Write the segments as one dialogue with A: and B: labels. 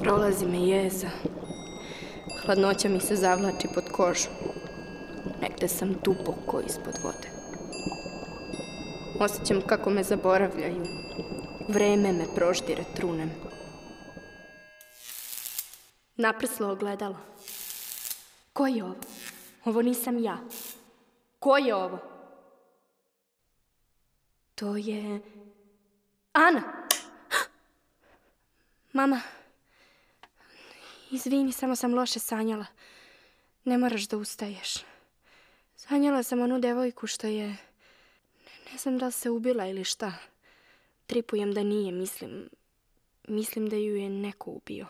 A: Prolazi me jeza. Hladnoća mi se zavlači pod kožu. Negde sam duboko ispod vode. Osjećam kako me zaboravljaju. Vreme me proždire trunem. Naprslo ogledalo. Ko je ovo? Ovo nisam ja. Ko je ovo? To je... Ana! Mama, izvini, samo sam loše sanjala. Ne moraš da ustaješ. Sanjala sam onu devojku što je... Ne, ne znam da li se ubila ili šta. Tripujem da nije, mislim... Mislim da ju je neko ubio.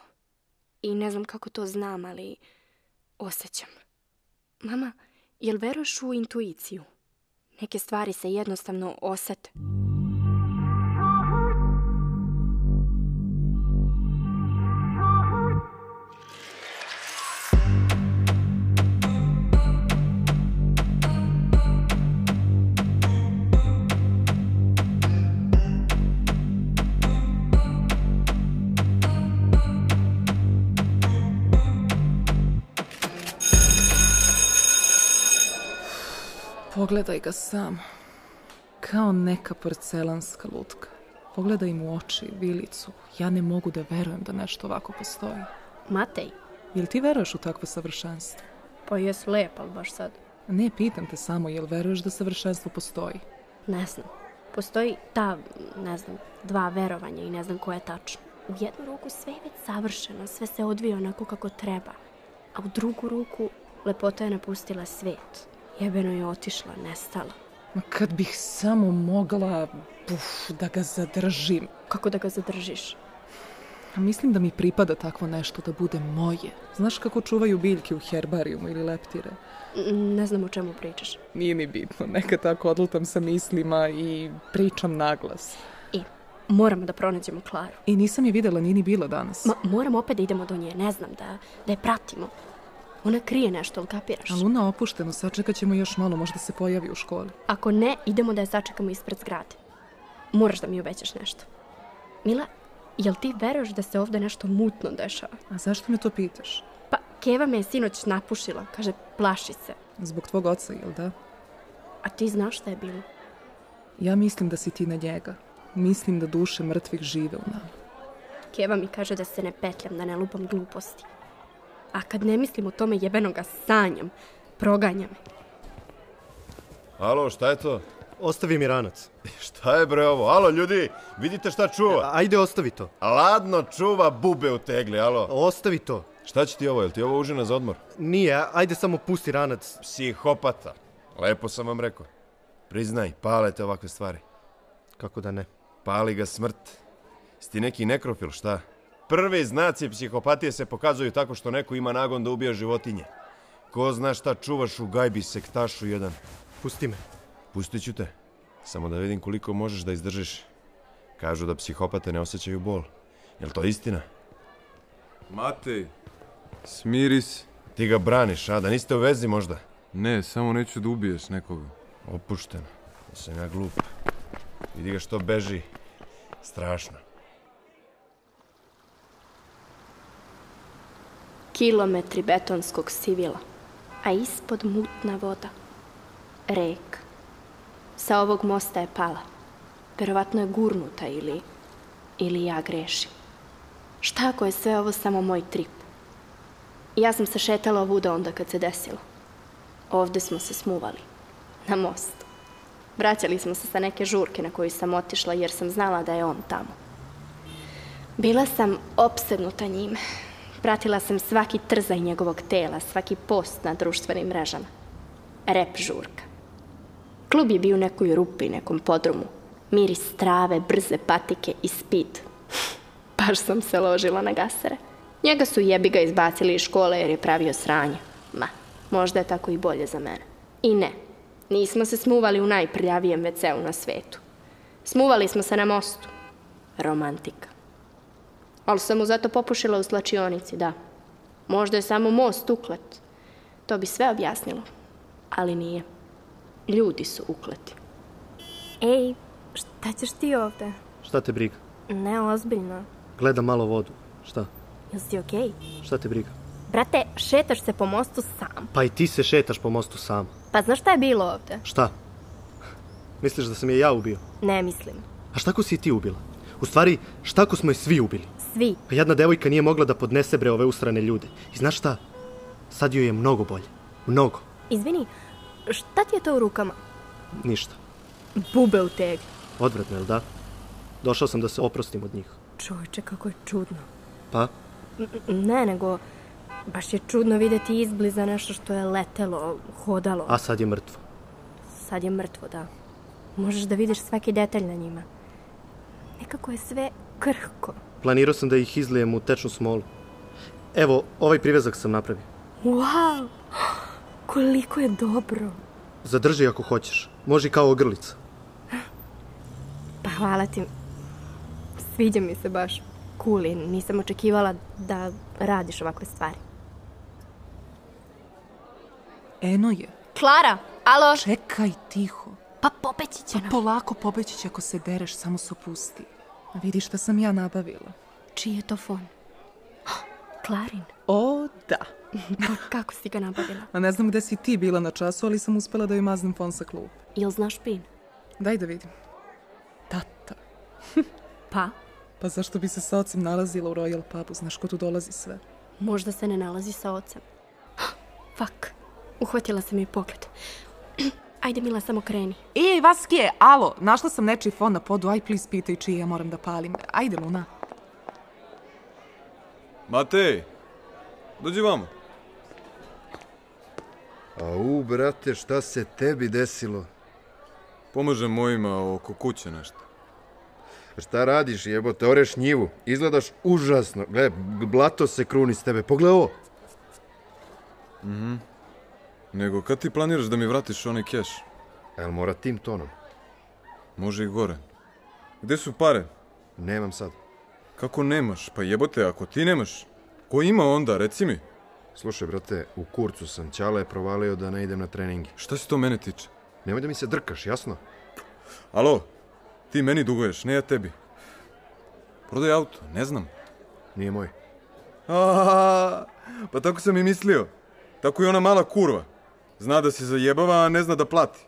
A: I ne znam kako to znam, ali... Osjećam. Mama, jel veruješ u intuiciju? Neke stvari se jednostavno osete.
B: Pogledaj ga sam. Kao neka porcelanska lutka. Pogledaj mu oči, vilicu. Ja ne mogu da verujem da nešto ovako postoji.
C: Matej,
B: Jel ti veruješ u takvo savršenstvo?
C: pa jes lep, ali baš sad.
B: Ne pitam te samo jel veruješ da savršenstvo postoji.
C: Ne znam. Postoji ta, ne znam, dva verovanja i ne znam koje je tačno. U jednu ruku sve je već savršeno, sve se odvija onako kako treba. A u drugu ruku lepota je napustila svet. Jebeno je otišla, nestala.
B: Ma kad bih samo mogla puf, da ga zadržim.
C: Kako da ga zadržiš?
B: A Mislim da mi pripada takvo nešto da bude moje. Znaš kako čuvaju biljke u herbarijumu ili leptire?
C: N- Ne znam o čemu pričaš.
B: Nije ni bitno, neka tako odlutam sa mislima i pričam naglas.
C: E, moramo da pronađemo Klaru.
B: I nisam je videla, nije ni bila danas.
C: Ma, moram opet da idemo do nje, ne znam, da, da je pratimo. Ona krije nešto, ali kapiraš?
B: A Luna opušteno, sačekat ćemo još malo, možda se pojavi u školi.
C: Ako ne, idemo da je sačekamo ispred zgrade. Moraš da mi obećaš nešto. Mila, jel ti veruješ da se ovde nešto mutno dešava?
B: A zašto me to pitaš?
C: Pa, Keva me je sinoć napušila, kaže, plaši se.
B: Zbog tvog oca, jel da?
C: A ti znaš šta je bilo?
B: Ja mislim da si ti na njega. Mislim da duše mrtvih žive u nama.
C: Keva mi kaže da se ne petljam, da ne lupam gluposti. A kad ne mislim o tome jebenoga sanjam, proganja me.
D: Alo, šta je to?
E: Ostavi mi ranac.
D: Šta je bre ovo? Alo, ljudi, vidite šta čuva?
E: Ajde, ostavi to.
D: Ladno čuva bube u tegli, alo.
E: Ostavi to.
D: Šta će ti ovo? Jel ti ovo užina za odmor?
E: Nije, ajde samo pusti ranac.
D: Psihopata. Lepo sam vam rekao. Priznaj, pale te ovakve stvari.
E: Kako da ne?
D: Pali ga smrt. Sti neki nekrofil, šta? Prvi znaci psihopatije se pokazuju tako što neko ima nagon da ubija životinje. Ko zna šta čuvaš u gajbi sektašu jedan.
E: Pusti me.
D: Pustit ću te. Samo da vidim koliko možeš da izdržiš. Kažu da psihopate ne osjećaju bol. Jel to istina?
F: Matej, smiri se.
D: Ti ga braniš, a da niste u vezi možda?
F: Ne, samo neću da ubiješ nekoga.
D: Opušteno. Da sam ja glup. Vidi ga što beži. Strašno.
A: Kilometri betonskog sivila, a ispod mutna voda. Rek. Sa ovog mosta je pala. Verovatno je gurnuta ili... ili ja grešim. Šta ako je sve ovo samo moj trip? Ja sam se šetala ovuda onda kad se desilo. Ovde smo se smuvali. Na most. Vraćali smo se sa neke žurke na koju sam otišla jer sam znala da je on tamo. Bila sam opsednuta njime. Pratila sam svaki trzaj njegovog tela, svaki post na društvenim mrežama. Rep žurka. Klub je bio u nekoj rupi, nekom podrumu. Miris trave, brze patike i spid. Baš sam se ložila na gasere. Njega su jebi ga izbacili iz škole jer je pravio sranje. Ma, možda je tako i bolje za mene. I ne, nismo se smuvali u najprljavijem WC-u na svetu. Smuvali smo se na mostu. Romantika. Ali sam mu zato popušila u slačionici, da. Možda je samo most uklet. To bi sve objasnilo. Ali nije. Ljudi su ukleti.
G: Ej, šta ćeš ti ovde?
E: Šta te briga?
G: Ne, ozbiljno.
E: Gledam malo vodu. Šta?
A: Jel si okej?
E: Šta te briga?
A: Brate, šetaš se po mostu sam.
E: Pa i ti se šetaš po mostu sam.
A: Pa znaš šta je bilo ovde?
E: Šta? Misliš da sam je ja ubio?
A: Ne mislim.
E: A šta ako si i ti ubila? U stvari, šta ako smo je svi ubili?
A: Svi.
E: Pa jedna devojka nije mogla da podnese bre ove usrane ljude. I znaš šta? Sad joj je mnogo bolje. Mnogo.
A: Izvini, šta ti je to u rukama?
E: Ništa.
A: Bube u tegli.
E: Odvratno, jel da? Došao sam da se oprostim od njih.
A: Čovječe, kako je čudno.
E: Pa?
A: Ne, nego baš je čudno videti izbliza nešto što je letelo, hodalo.
E: A sad je mrtvo.
A: Sad je mrtvo, da. Možeš da vidiš svaki detalj na njima. Nekako je sve krhko.
E: Planirao sam da ih izlijem u tečnu smolu. Evo, ovaj privezak sam napravio.
A: Wow! Koliko je dobro!
E: Zadrži ako hoćeš. Može i kao ogrlica.
A: Pa hvala ti. Sviđa mi se baš. Kuli, nisam očekivala da radiš ovakve stvari.
B: Eno je.
A: Klara, alo!
B: Čekaj tiho.
A: Pa popeći će nam.
B: Polako pobeći će ako se dereš, samo se opusti. Vidi šta sam ja nabavila.
A: Čiji je to fon? Klarin,
B: O, da.
A: pa kako si ga nabavila?
B: A ne znam gde si ti bila na času, ali sam uspela da joj maznem fon sa klubu.
A: Jel znaš pin?
B: Daj da vidim. Tata.
A: Pa?
B: Pa zašto bi se sa ocem nalazila u Royal pubu? Znaš ko tu dolazi sve?
A: Možda se ne nalazi sa ocem. Fak, uhvatila sam i pogled. Ajde, Mila, samo kreni.
B: Ej, Vaskije, alo, našla sam nečiji fon na podu, aj please pitaj čiji ja moram da palim. Ajde, Luna.
F: Matej, dođi vamo.
G: Au, brate, šta se tebi desilo?
F: Pomažem mojima oko kuće nešto.
G: Šta radiš, jebote, oreš njivu. Izgledaš užasno. Gle, g- blato se kruni s tebe. Pogledaj ovo.
F: Nego, kad ti planiraš da mi vratiš onaj keš?
G: Jel mora tim tonom?
F: Može i gore. Gde su pare?
G: Nemam sad.
F: Kako nemaš? Pa jebote, ako ti nemaš, ko ima onda, reci mi?
G: Slušaj, brate, u kurcu sam. Ćala je provalio da ne idem na treninge.
F: Šta se to mene tiče?
G: Nemoj da mi se drkaš, jasno?
F: Alo, ti meni duguješ, ne ja tebi. Prodaj auto, ne znam.
G: Nije moj.
F: A, pa tako sam i mislio. Tako i ona mala kurva. Zna da se zajebava, a ne zna da plati.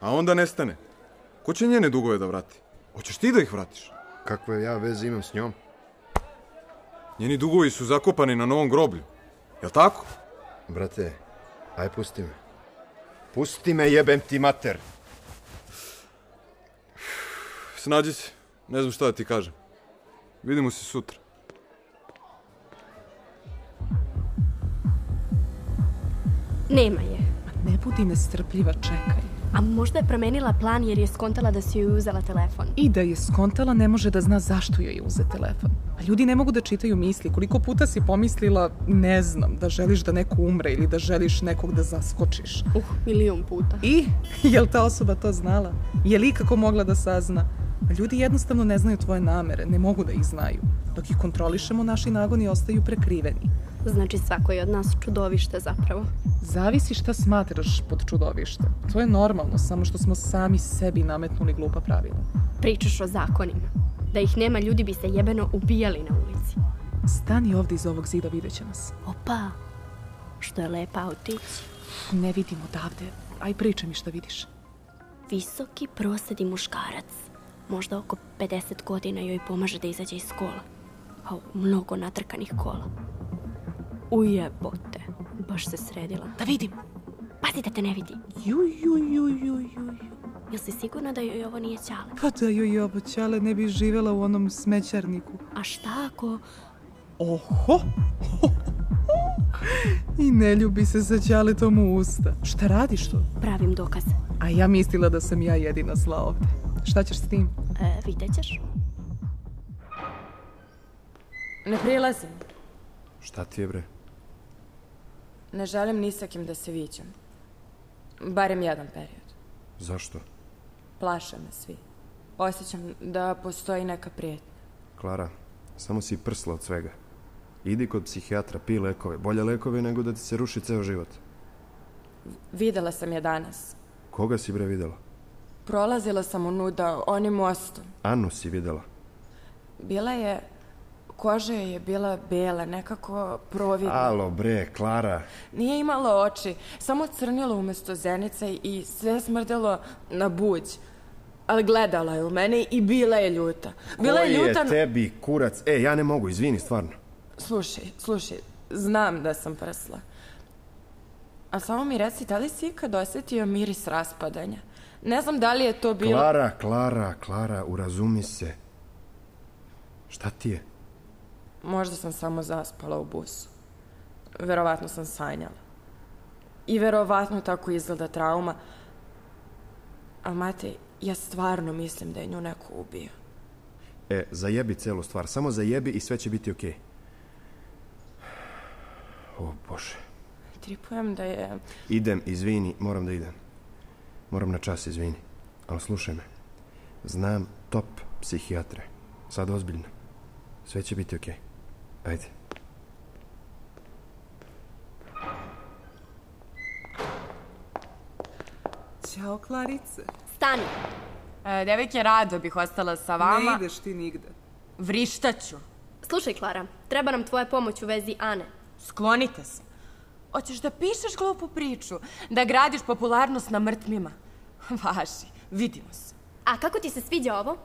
F: A onda nestane. Ko će njene dugove da vrati? Hoćeš ti da ih vratiš?
G: Kakve ja veze imam s njom?
F: Njeni dugovi su zakopani na novom groblju. Jel tako?
G: Brate, aj pusti me. Pusti me, jebem ti mater.
F: Snađi se. Ne znam šta da ti kažem. Vidimo se sutra.
A: Nema je.
B: Ne budi nestrpljiva, čekaj.
A: A možda je promenila plan jer je skontala da si joj uzela telefon.
B: I da je skontala, ne može da zna zašto joj je uze telefon. A ljudi ne mogu da čitaju misli. Koliko puta si pomislila, ne znam, da želiš da neko umre ili da želiš nekog da zaskočiš.
A: Uh, milijun puta.
B: I, jel ta osoba to znala? Je li ikako mogla da sazna? Pa Ljudi jednostavno ne znaju tvoje namere, ne mogu da ih znaju. Dok ih kontrolišemo, naši nagoni ostaju prekriveni.
A: Znači svako je od nas čudovište zapravo.
B: Zavisi šta smatraš pod čudovište. To je normalno, samo što smo sami sebi nametnuli glupa pravila.
A: Pričaš o zakonima. Da ih nema, ljudi bi se jebeno ubijali na ulici.
B: Stani ovde iz ovog zida, vidjet će nas.
A: Opa, što je lepa autić.
B: Ne vidim odavde. Aj pričaj mi šta vidiš.
A: Visoki prosedi muškarac. Možda oko 50 godina joj pomaže da izađe iz kola. A mnogo natrkanih kola. Ujebote, baš se sredila.
B: Da vidim.
A: Pazi da te ne vidi.
B: Ju, ju, ju, ju, ju, ju.
A: Jel si sigurna da joj ovo nije ćale?
B: Pa da joj oboćale ne bi živela u onom smećarniku.
A: A šta ako...
B: Oho! I ne ljubi se sa ćaletom u usta. Šta radiš to?
A: Pravim dokaze.
B: A ja mislila da sam ja jedina zla ovde. Šta ćeš s tim?
A: E, vidjet ćeš.
H: Ne prilazim.
D: Šta ti je bre?
H: Ne želim ni sa kim da se viđam. Barem jedan period.
D: Zašto?
H: Plaše me svi. Osjećam da postoji neka prijetnja.
D: Klara, samo si prsla od svega. Idi kod psihijatra, pi lekove. Bolje lekove nego da ti se ruši ceo život.
H: Videla sam je danas.
D: Koga si bre videla?
H: Prolazila sam u nuda onim mostom.
D: Anu si videla.
H: Bila je Koža joj je bila bela, nekako providna.
G: Alo bre, Klara.
H: Nije imala oči, samo crnilo umesto zenica i sve smrdelo na buđ. Ali gledala je u mene i bila je ljuta. Bila
G: Koji
H: je ljuta... na-
G: tebi kurac? E, ja ne mogu, izvini, stvarno.
H: Slušaj, slušaj, znam da sam prsla. A samo mi reci, da li si ikad osetio miris raspadanja? Ne znam da li je to bilo...
G: Klara, Klara, Klara, urazumi se. Šta ti je?
H: Možda sam samo zaspala u busu. Verovatno sam sanjala. I verovatno tako izgleda trauma. A mate, ja stvarno mislim da je nju neko ubio.
G: E, zajebi celu stvar, samo zajebi i sve će biti okej. O, Bože.
H: Tripujem da je...
G: Idem, izvini, moram da idem. Moram na čas, izvini. Ali slušaj me. Znam top psihijatre. Sad ozbiljno. Sve će biti okej. Ajde.
B: Ćao, Klarice.
A: Stani!
I: E, devojke, rado bih ostala sa
B: Ne
I: vama.
B: ideš ti nigde.
I: Vrištaću.
A: Slušaj, Klara, treba nam tvoja pomoć u vezi Ane.
I: Sklonite se. Hoćeš da pišeš glupu priču, da gradiš popularnost na mrtvima. Važi, vidimo se.
A: A kako ti se sviđa ovo?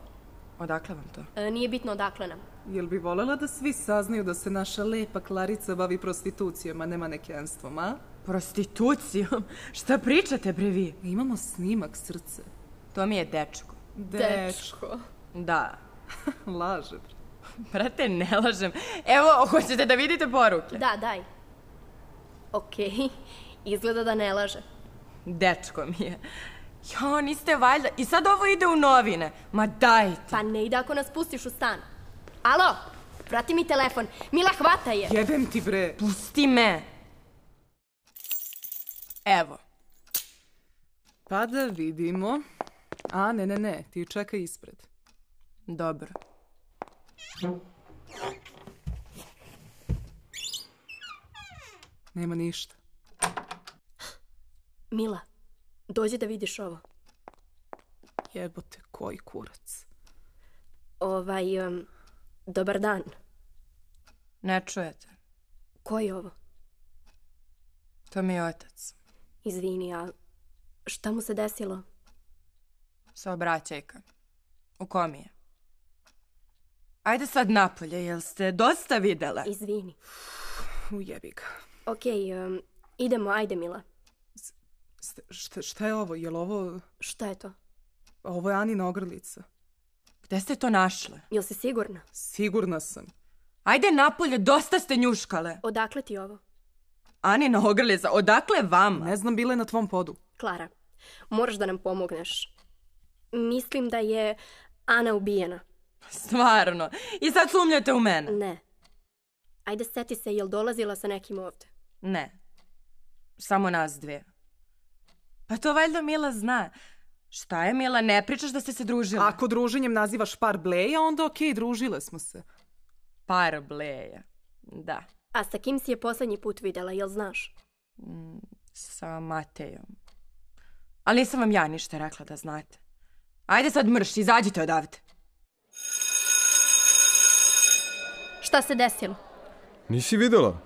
H: Odakle vam to?
A: E, nije bitno odakle nam.
J: Jel bi volela da svi saznaju da se naša lepa Klarica bavi prostitucijom, a ne manekenstvom, a?
I: Prostitucijom? Šta pričate, bre vi?
J: Imamo snimak srce.
I: To mi je dečko.
J: Dečko.
I: Da.
J: Laže. bre.
I: Brate, ne lažem. Evo, hoćete da vidite poruke.
A: Da, daj. Okej, izgleda da ne laže.
I: Dečko mi je. Jo, niste valjda. I sad ovo ide u novine. Ma dajte.
A: Pa ne ide ako nas pustiš u stan. Alo, vrati mi telefon. Mila, hvata je.
J: Jebem ti bre.
I: Pusti me. Evo.
B: Pa da vidimo. A, ne, ne, ne, ti čekaj ispred.
I: Dobro.
B: Nema ništa.
A: Mila, dođi da vidiš ovo.
B: Jebote, koji kurac.
A: Ovaj, em, dobar dan.
I: Ne čujete.
A: Ko je ovo?
I: To mi je otac.
A: Izvini, a šta mu se desilo?
I: Saobraćajka. U kom je? Ajde sad napolje, jel ste dosta videle?
A: Izvini.
B: Ujebi ga.
A: Okej, em, idemo, ajde Mila.
B: Ste- Šta, šta je ovo? Jel ovo...
A: Šta je to?
B: Ovo je Anina ogrlica.
I: Gde ste to našle?
A: Jel si sigurna?
B: Sigurna sam.
I: Ajde napolje, dosta ste njuškale.
A: Odakle ti ovo?
I: Anina ogrlica, odakle vama?
B: Ne znam, bila je na tvom podu.
A: Klara, moraš da nam pomogneš. Mislim da je Ana ubijena.
I: Stvarno. I sad sumnjate u mene?
A: Ne. Ajde, seti se, jel dolazila sa nekim ovde?
I: Ne. Samo nas dve. Pa to valjda Mila zna. Šta je Mila, ne pričaš da ste se družile?
B: Ako druženjem nazivaš par bleja, onda okej, družile smo se.
I: Par bleja. Da.
A: A sa kim si je poslednji put videla, jel znaš?
I: sa Matejom. Ali nisam vam ja ništa rekla da znate. Ajde sad mrš, izađite odavde.
A: Šta se desilo?
F: Nisi videla?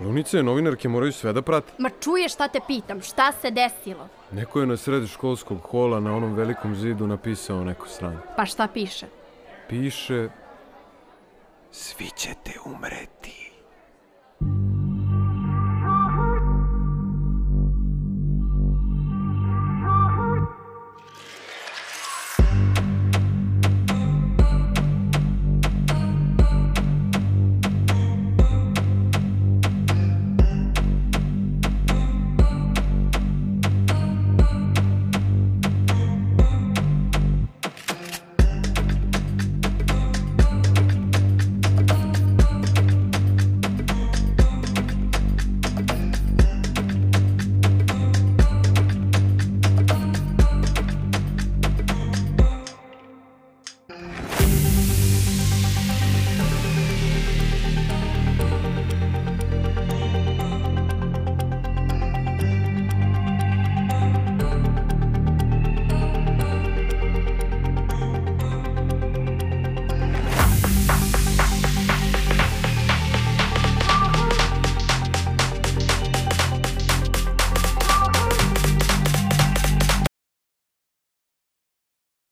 F: Lunice i novinarke moraju sve da prate.
A: Ma čuješ šta te pitam, šta se desilo?
F: Neko je na sred školskog hola na onom velikom zidu napisao neko sranje.
A: Pa šta piše?
F: Piše... Svi ćete umreti.